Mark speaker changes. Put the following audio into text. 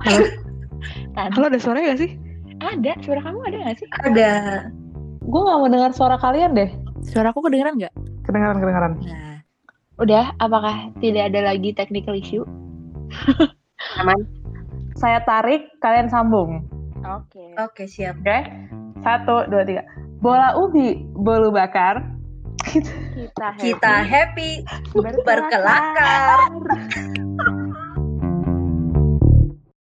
Speaker 1: Halo.
Speaker 2: Tadi.
Speaker 1: Halo ada suaranya gak sih?
Speaker 2: Ada, suara kamu ada gak sih?
Speaker 3: Ada.
Speaker 4: Gue gak mau dengar suara kalian deh.
Speaker 2: Suara aku kedengeran nggak?
Speaker 1: Kedengaran kedengaran.
Speaker 2: Nah. Udah, apakah tidak ada lagi technical issue?
Speaker 4: Saya tarik, kalian sambung.
Speaker 2: Oke.
Speaker 3: Oke, siap.
Speaker 4: Oke? Satu, dua, tiga. Bola ubi, bolu bakar.
Speaker 2: Kita,
Speaker 3: Kita happy
Speaker 2: Berkelakar.
Speaker 3: berkelakar.